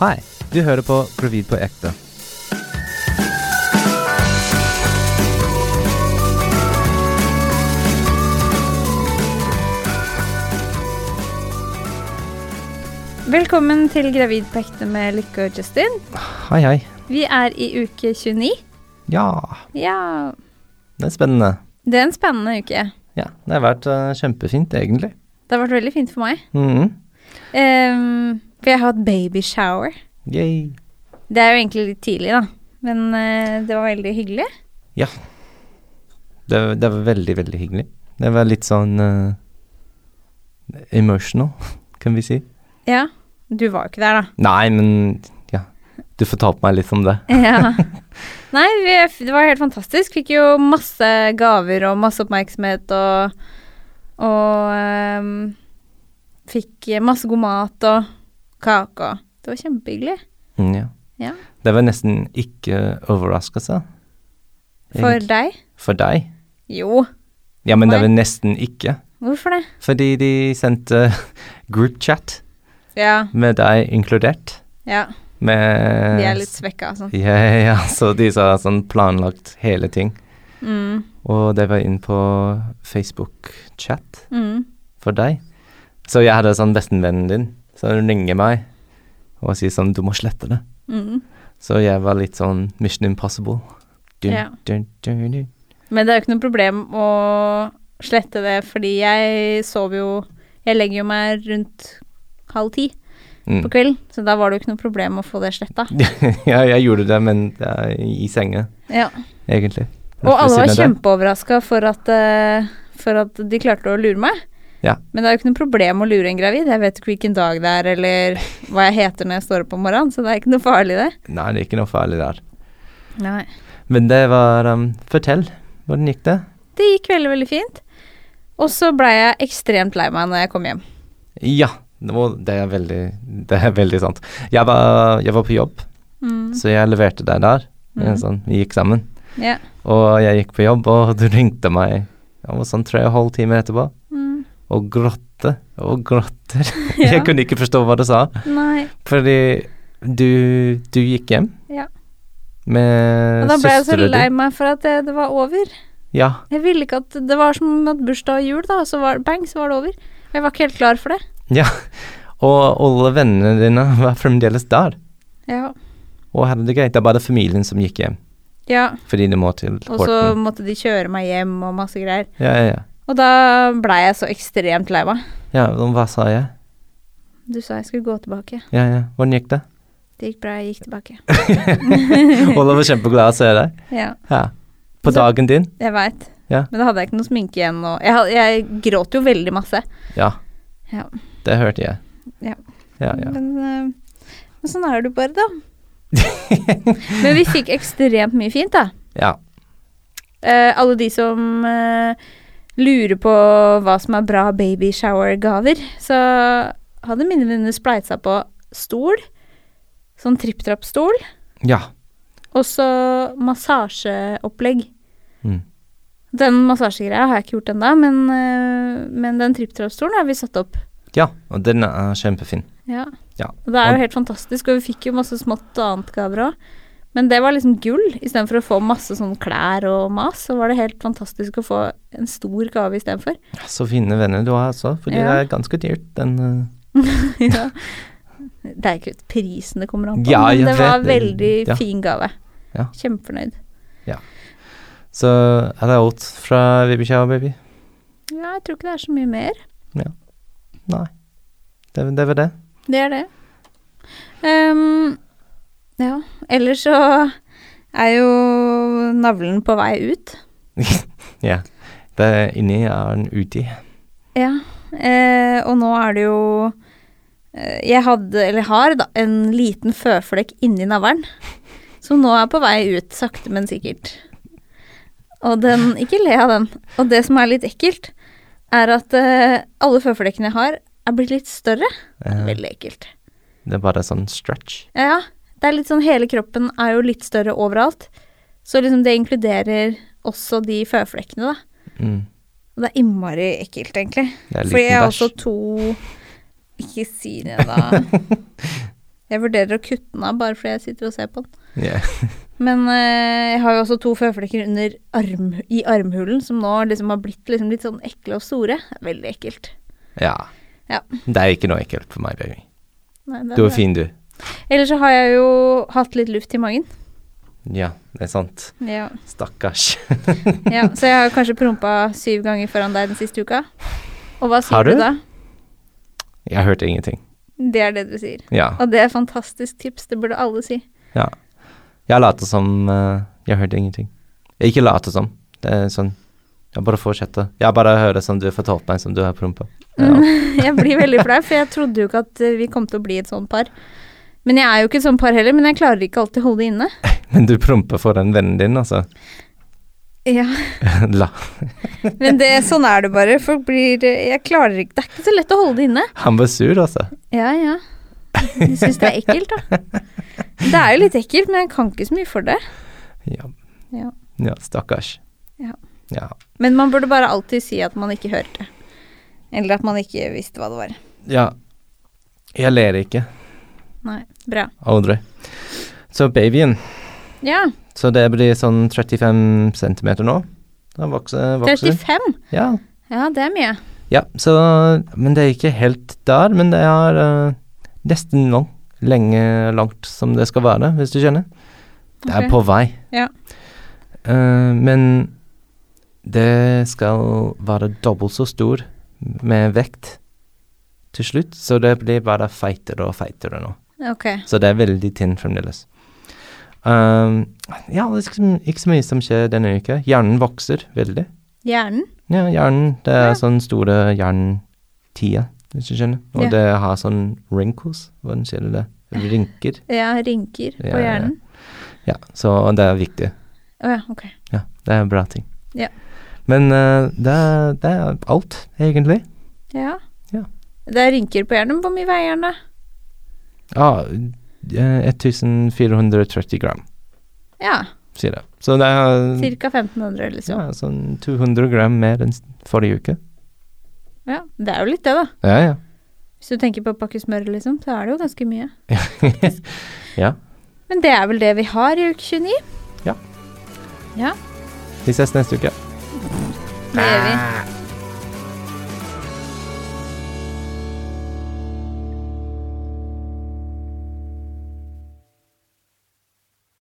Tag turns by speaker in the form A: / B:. A: Hei, du hører på Gravid på ekte.
B: Velkommen til Gravid på ekte med Lykke og Justin.
A: Hei, hei.
B: Vi er i uke 29.
A: Ja,
B: Ja,
A: det er spennende.
B: det er en spennende uke.
A: Ja, det har vært eh, kjempefint, egentlig.
B: Det har vært veldig fint for meg.
A: Mhm.
B: Ehm, for jeg har hatt babyshower.
A: Yay.
B: Det er jo egentlig litt tidlig, da. Men eh, det var veldig hyggelig.
A: Det, det var veldig, veldig hyggelig. Det var litt sånn eh, emotional, kan vi si.
B: Ja. Du var jo ikke der, da.
A: Nei, men ja. Du fortalte meg litt om det.
B: Ja. Nei, vi, det var helt fantastisk. Fikk jo masse gaver og masse oppmerksomhet og Og ehm, fikk masse god mat og kake og Det var kjempehyggelig.
A: Mm, ja.
B: Ja.
A: Det var nesten ikke overraskelse.
B: For
A: egentlig.
B: deg?
A: For deg?
B: Jo.
A: Ja, men det
B: Meg?
A: var nesten ikke.
B: Hvorfor det?
A: Fordi de sendte groupchat
B: Ja.
A: med deg inkludert.
B: ja.
A: Med
B: Vi
A: Eh,
B: er litt svekka og sånn.
A: Ja, ja, ja, så de sa sånn planlagt hele ting.
B: Mm.
A: Og det var inn på Facebook-chat
B: Mm.
A: for deg. Så jeg hadde sånn bestevennen din, så hun ringer meg og sier sånn, du må slette det.
B: Mm.
A: Så jeg var litt sånn Mission Impossible. Dun,
B: Ja.
A: dun, dun, dun.
B: Men det er jo ikke noe problem å slette det, fordi jeg sov jo Jeg legger jo meg rundt halv ti
A: Mm.
B: på kvelden, så da var det jo ikke noe problem å få det sletta.
A: ja, jeg gjorde det, men det er i senga,
B: Ja.
A: egentlig.
B: Og alle var
A: Ved siden av
B: kjempeoverraska for, at, eh, for at de klarte å lure meg.
A: Ja.
B: Men det er jo ikke noe problem å lure en gravid. Jeg vet ikke hvilken dag det er, eller hva jeg heter når jeg står opp om morgenen, så det er ikke noe farlig, det.
A: deg. Nei, det er ikke noe farlig der.
B: Nei.
A: Men det var um, Fortell, hvordan gikk det?
B: Det gikk veldig, veldig fint. Og så blei jeg ekstremt lei meg når jeg kom hjem.
A: Ja, det var- det er veldig, det er veldig sant. Jeg var, jeg var på jobb, så jeg leverte deg der.
B: Mm.
A: Sånn, vi gikk sammen.
B: Ja.
A: Og jeg gikk på jobb, og du ringte meg det var sånn tre og en halv time etterpå
B: Mm.
A: og gråtte og gråtte.
B: Ja.
A: Jeg kunne ikke forstå hva du sa.
B: Nei.
A: Eh, Fordi du, du gikk hjem
B: Ja.
A: med
B: Og da ble jeg så
A: søsteren
B: lei
A: din.
B: meg for at det, det var over.
A: Ja,
B: Jeg ville ikke at Det var som at bursdag og jul, da, og så var det bang, så var det over. Jeg var ikke helt klar for det.
A: og alle vennene dine var fremdeles der
B: Ja.
A: og hadde det greit. Det er bare familien som gikk hjem,
B: ja.
A: fordi de må til
B: Og så
A: Horten.
B: måtte de kjøre meg hjem og masse greier.
A: Ja, ja, ja.
B: Og da blei jeg så ekstremt lei meg.
A: ja, og hva sa jeg?
B: Du sa jeg skulle gå tilbake.
A: Ja, ja, hvordan gikk det?
B: Det gikk bra, jeg gikk tilbake.
A: Ola var kjempeglad å se deg.
B: Ja,
A: Ja. På
B: Så-
A: dagen din?
B: jeg veit.
A: Ja.
B: Men da hadde jeg ikke noe sminke igjen, og jeg, had- jeg gråt jo veldig masse.
A: Ja.
B: Ja.
A: Det hørte jeg.
B: Ja.
A: Ja, ja.
B: Men, eh, men sånn er det jo bare, da. men vi fikk ekstremt mye fint, da.
A: ja.
B: Eh, alle de som eh, lurer på hva som er bra babyshower-gaver, så hadde mine venninner spleisa på stol, sånn tripp-trapp-stol,
A: ja.
B: og så massasjeopplegg.
A: Mm.
B: Den massasjegreia har jeg ikke gjort ennå, men, eh, men den tripp-trapp-stolen har vi satt opp.
A: ja. Og den er kjempefin.
B: Ja.
A: Ja.
B: Og det er jo helt fantastisk, og vi fikk jo masse smått og annet gaver òg. Men det var liksom gull, istedenfor å få masse sånn klær og mas, så var det helt fantastisk å få en stor gave istedenfor.
A: Så fine venner du har altså, fordi
B: Ja.
A: det er ganske dyrt, den eh,
B: ja. Det er ikke prisen det kommer an på,
A: Ja, jeg
B: men det var
A: vet det.
B: veldig
A: Ja.
B: fin gave.
A: Ja.
B: Kjempefornøyd.
A: Så er det alt fra Vibisha og Baby.
B: Ja, jeg tror ikke det er så mye mer.
A: Det, det var det.
B: Det er det. Ehm, ja, ellers så er jo navlen på vei ut.
A: Ja. Det inni er en uti.
B: Ja, eh, og nå er det jo eh, Jeg hadde, eller har, da, en liten føflekk inni navlen. Som nå er på vei ut, sakte, men sikkert. Og den Ikke le av den. Og det som er litt ekkelt, er at eh, alle føflekkene jeg har, er blitt litt større.
A: Eh,
B: Veldig ekkelt.
A: det er bare sånn stretch.
B: Ja, det er litt sånn hele kroppen er jo litt større overalt. Så liksom det inkluderer også de føflekkene, da.
A: Mm.
B: Og det er innmari ekkelt, egentlig.
A: Det er
B: Fordi
A: liten
B: jeg har
A: bæsj.
B: også to Ikke si det, da. Jeg vurderer å kutte den av bare fordi jeg sitter og ser på den.
A: Ja.
B: Men eh, jeg har jo også to føflekker under arm, i armhulen som nå liksom har blitt liksom litt sånn ekle og store. Det er Veldig ekkelt.
A: ja.
B: Ja.
A: Det er ikke noe ekkelt for meg, baby.
B: Nei, det
A: Du er
B: det.
A: fin, du.
B: Ellers så har jeg jo hatt litt luft i magen.
A: Ja, det er sant.
B: Ja.
A: Stakkars.
B: ja, Så jeg har kanskje prompa syv ganger foran deg den siste uka. Og hva
A: Har
B: sier du?
A: du?
B: da?
A: Jeg hørte ingenting.
B: Det er det du sier.
A: Ja.
B: Og det er et fantastisk tips. Det burde alle si.
A: ja. Jeg later som eh, jeg hørte ingenting. Jeg ikke later som. Det er sånn Jeg bare fortsetter. Jeg bare hører som du fortalte meg, som du har prompa. Ja.
B: jeg blir veldig flau, for jeg trodde jo ikke at eh, vi kom til å bli et sånt par. Men jeg er jo ikke et sånt par heller, men jeg klarer ikke alltid å holde det inne.
A: Men du promper foran vennen din, altså.
B: Ja,
A: La.
B: Men det, sånn er det bare. Folk blir eh, Jeg klarer ikke Det er ikke så lett å holde det inne.
A: Han var sur, altså.
B: Ja, ja. Jeg syns det er ekkelt, da. Det er jo litt ekkelt, men jeg kan ikke så mye for det.
A: Ja.
B: Ja.
A: ja stakkars.
B: Ja.
A: ja.
B: Men man burde bare alltid si at man ikke hørte. Eller at man ikke visste hva det var.
A: Ja. Jeg ler ikke,
B: Nei, bra.
A: Audrey. Så babyen
B: Ja,
A: Så det blir sånn 35 centimeter nå. Den vokser, vokser.
B: 35.
A: Ja.
B: Ja, det er mye.
A: ja, så Men det er ikke helt der, men det er eh, nesten lang, lenge langt som det skal være, hvis du skjønner. Det er
B: Ok.
A: på vei.
B: Ja.
A: Eh, men det skal være dobbelt så stor med vekt til slutt, så det blir bare feitere og feitere nå.
B: Ok.
A: Så det er veldig tynn fremdeles. Ehm, ja, det er ikke, så- ikke så mye som skjer denne uka. Hjernen vokser veldig.
B: Hjernen?
A: Ja, hjernen. Det er
B: Ja.
A: sånn store hjernetider, hvis du skjønner. Og
B: Ja.
A: det har sånn wrinkles, hvordan sier du det? Rynker.
B: Ja, rynker
A: Ja, ja,
B: på
A: ja.
B: hjernen.
A: Ja, så det er viktig.
B: Å ja, ok.
A: Ja, det er bra ting.
B: Ja.
A: Men eh, det, er, det er alt, egentlig.
B: Ja.
A: Ja.
B: Det er rynker på hjernen. Hvor mye veier den, da?
A: Ja, eh, 1430 gram,
B: Ja,
A: sier det. Så det er
B: ca. 1500, liksom.
A: Mm. ja, sånn 200 gram mer enn s- forrige uke.
B: Ja, Det er jo litt det, da.
A: Ja, ja.
B: Hvis du tenker på å pakke smør, liksom, så er det jo ganske mye.
A: ja.
B: Men det er vel det vi har i uke 29?
A: Ja.
B: Ja,
A: Vi ses neste uke.
B: det gjør vi.